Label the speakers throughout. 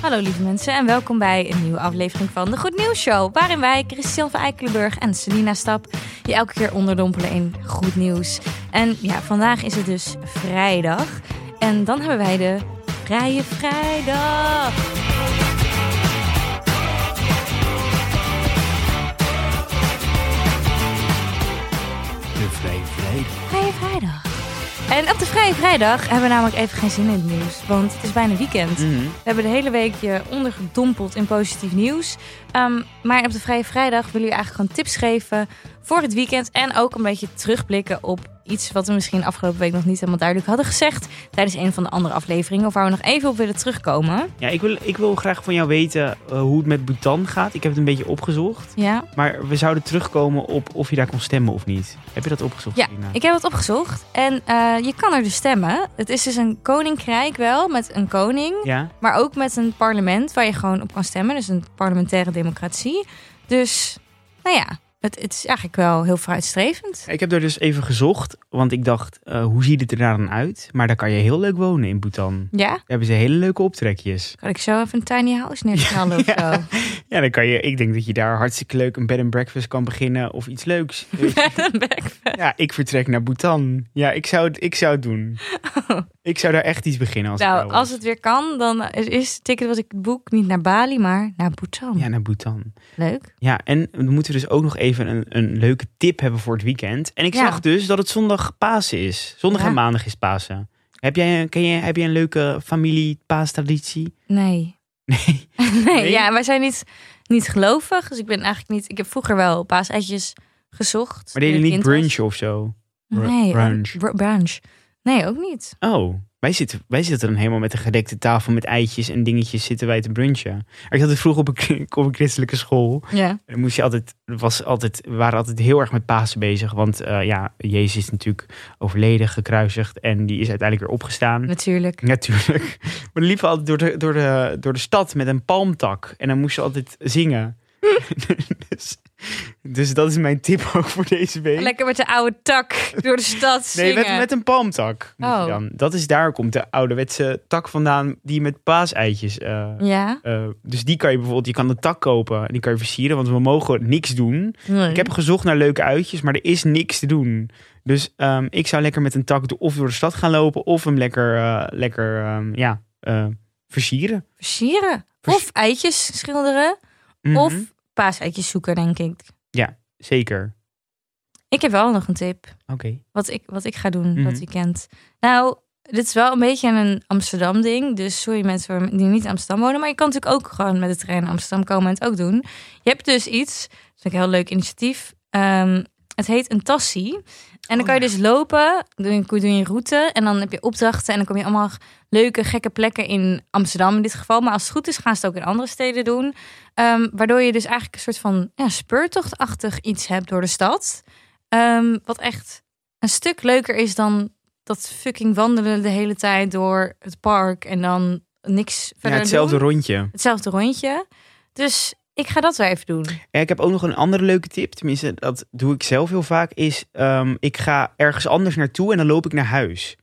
Speaker 1: Hallo lieve mensen en welkom bij een nieuwe aflevering van de Goed Nieuws Show. Waarin wij, Christel van Eikelenburg en Selina Stap, je elke keer onderdompelen in goed nieuws. En ja, vandaag is het dus vrijdag. En dan hebben wij de Vrije Vrijdag.
Speaker 2: De Vrije Vrijdag.
Speaker 1: Vrije Vrijdag. En op de Vrije Vrijdag hebben we namelijk even geen zin in het nieuws, want het is bijna weekend. We hebben de hele week je ondergedompeld in positief nieuws. Ehm, maar op de Vrije Vrijdag willen jullie eigenlijk gewoon tips geven voor het weekend. En ook een beetje terugblikken op iets wat we misschien afgelopen week nog niet helemaal duidelijk hadden gezegd. Tijdens een van de andere afleveringen. Of waar we nog even op willen terugkomen.
Speaker 2: Ja, ik wil, ik wil graag van jou weten eh, hoe het met Bhutan gaat. Ik heb het een beetje opgezocht.
Speaker 1: Ja.
Speaker 2: Maar we zouden terugkomen op of je daar kon stemmen of niet. Heb je dat opgezocht?
Speaker 1: Ja,
Speaker 2: Lina?
Speaker 1: Ik heb het opgezocht. En eh, je kan er dus stemmen. Het is dus een koninkrijk wel, met een koning.
Speaker 2: Ja?
Speaker 1: Maar ook met een parlement waar je gewoon op kan stemmen. Dus een parlementaire democratie. Dus, nou ja, het, het is eigenlijk wel heel vooruitstrevend.
Speaker 2: Ik heb daar dus even gezocht, want ik dacht, eh, hoe ziet het er nou dan uit? Maar daar kan je heel leuk wonen in Bhutan. Daar
Speaker 1: Ja?
Speaker 2: hebben ze hele leuke optrekjes.
Speaker 1: Kan ik zo even een tiny house neerknallen of
Speaker 2: Ja.
Speaker 1: zo?
Speaker 2: Ja, dan kan je, ik denk dat je daar hartstikke leuk een bed and breakfast kan beginnen of iets leuks. Weet je?
Speaker 1: Met een backpack.
Speaker 2: ja, ik vertrek naar Bhutan. Ja, ik zou het, ik zou het doen. Ik zou daar echt iets beginnen als ik jou
Speaker 1: Oh. Nou,
Speaker 2: was.
Speaker 1: als het weer kan, dan is ticket wat ik boek niet naar Bali, maar naar Bhutan.
Speaker 2: Ja, naar Bhutan.
Speaker 1: Leuk.
Speaker 2: Ja, en we moeten dus ook nog even een, een leuke tip hebben voor het weekend. En ik
Speaker 1: Ja.
Speaker 2: zag dus dat het zondag Pasen is. Zondag
Speaker 1: Ja.
Speaker 2: en maandag is Pasen. Heb jij, ken je, heb jij een leuke familie paastraditie?
Speaker 1: Nee.
Speaker 2: Nee.
Speaker 1: nee.
Speaker 2: Nee?
Speaker 1: ja, wij zijn niet, niet gelovig, dus ik ben eigenlijk niet... Ik heb vroeger wel paaseitjes gezocht.
Speaker 2: Maar deden
Speaker 1: toen
Speaker 2: jullie
Speaker 1: ik
Speaker 2: niet
Speaker 1: kind was.
Speaker 2: brunch of zo? Br-
Speaker 1: Nee,
Speaker 2: brunch.
Speaker 1: oh, br- brunch. Nee, ook niet.
Speaker 2: Oh, wij zitten, wij zitten dan helemaal met een gedekte tafel met eitjes en dingetjes zitten wij te brunchen. Ik had het vroeger op een, kri- op een christelijke school.
Speaker 1: Ja.
Speaker 2: Dan moest je altijd, was altijd, we waren altijd heel erg met Pasen bezig. Want eh, ja, Jezus is natuurlijk overleden, gekruisigd en die is uiteindelijk weer opgestaan.
Speaker 1: Natuurlijk.
Speaker 2: Natuurlijk. Maar dan liepen we altijd door de, door, de, door de stad met een palmtak. En dan moest je altijd zingen. dus, dus dat is mijn tip ook voor deze week.
Speaker 1: Lekker met de oude tak door de stad
Speaker 2: nee,
Speaker 1: zingen.
Speaker 2: met, met een palmtak. moet je
Speaker 1: Oh.
Speaker 2: dan. Dat is daar komt de ouderwetse tak vandaan die met paaseitjes... eh,
Speaker 1: Ja?
Speaker 2: eh, dus die kan je bijvoorbeeld, je kan de tak kopen en die kan je versieren, want we mogen niks doen.
Speaker 1: Nee.
Speaker 2: Ik heb gezocht naar leuke uitjes, maar er is niks te doen. Dus ehm, ik zou lekker met een tak do- of door de stad gaan lopen of hem lekker, eh, lekker ehm, ja, eh, versieren.
Speaker 1: Versieren.
Speaker 2: Vers-
Speaker 1: Of eitjes schilderen.
Speaker 2: Mhm,
Speaker 1: Of paaseitjes zoeken, denk ik.
Speaker 2: Zeker.
Speaker 1: Ik heb wel nog een tip.
Speaker 2: Oké.
Speaker 1: Wat ik, wat ik ga doen
Speaker 2: Mhm.
Speaker 1: dat weekend. Nou, dit is wel een beetje een Amsterdam ding. Dus sorry mensen die niet in Amsterdam wonen. Maar je kan natuurlijk ook gewoon met de trein naar Amsterdam komen en het ook doen. Je hebt dus iets. Dat vind ik een heel leuk initiatief. Ehm, het heet een tassie. En dan
Speaker 2: Oh,
Speaker 1: kan je dus lopen, doe je, doe je een route en dan heb je opdrachten. En dan kom je allemaal leuke, gekke plekken in Amsterdam in dit geval. Maar als het goed is, gaan ze het ook in andere steden doen. Ehm, waardoor je dus eigenlijk een soort van ja, speurtochtachtig iets hebt door de stad. Ehm, wat echt een stuk leuker is dan dat fucking wandelen de hele tijd door het park en dan niks
Speaker 2: Ja,
Speaker 1: verder
Speaker 2: hetzelfde
Speaker 1: doen.
Speaker 2: rondje.
Speaker 1: Hetzelfde rondje. Dus ik ga dat wel even doen.
Speaker 2: Ja, ik heb ook nog een andere leuke tip. Tenminste, dat doe ik zelf heel vaak. Is ehm, ik ga ergens anders naartoe en dan loop ik naar huis.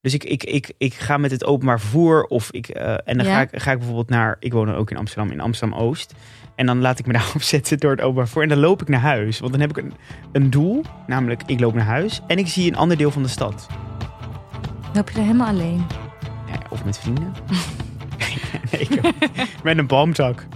Speaker 2: Dus ik, ik, ik, ik ga met het openbaar vervoer. Of ik, eh, en dan
Speaker 1: Ja.
Speaker 2: ga, ik, ga ik bijvoorbeeld naar. Ik woon ook in Amsterdam, in Amsterdam Oost. En dan laat ik me daar opzetten door het openbaar vervoer. En dan loop ik naar huis. Want dan heb ik een, een doel. Namelijk, ik loop naar huis. En ik zie een ander deel van de stad.
Speaker 1: Loop je er helemaal alleen?
Speaker 2: Ja, of met vrienden. nee, ik ook. met een boomtak.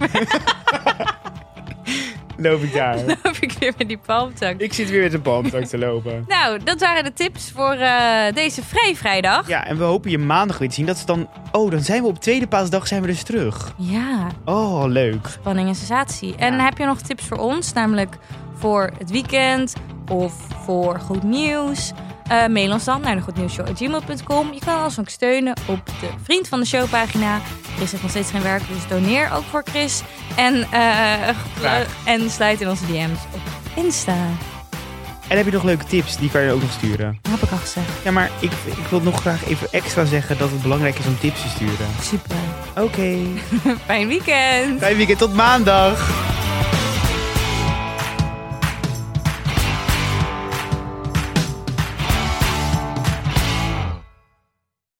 Speaker 2: loop ik daar.
Speaker 1: Loop ik weer met die palmtak?
Speaker 2: Ik zit weer met een palmtak te lopen.
Speaker 1: Nou, dat waren de tips voor eh, deze Vrij Vrijdag.
Speaker 2: Ja, en we hopen je maandag weer te zien. Dat ze dan... Oh, dan zijn we op tweede paasdag zijn we dus terug.
Speaker 1: Ja,
Speaker 2: Oh, leuk.
Speaker 1: spanning en sensatie. En
Speaker 2: Ja.
Speaker 1: heb je nog tips voor ons, namelijk voor het weekend of voor goed nieuws? Eh, mail ons dan naar de goednieuwsshow.gmail.com. Je kan ons ook steunen op de Vriend van de Show pagina. Chris heeft nog steeds geen werk, dus doneer ook voor Chris. En, eh,
Speaker 2: Graag.
Speaker 1: en sluit in onze DM's op Insta.
Speaker 2: En heb je nog leuke tips? Die kan je ook nog sturen.
Speaker 1: Dat heb ik al gezegd.
Speaker 2: Ja, maar ik, ik wil nog graag even extra zeggen dat het belangrijk is om tips te sturen.
Speaker 1: Super.
Speaker 2: Oké.
Speaker 1: Fijn weekend.
Speaker 2: Fijn weekend, tot maandag.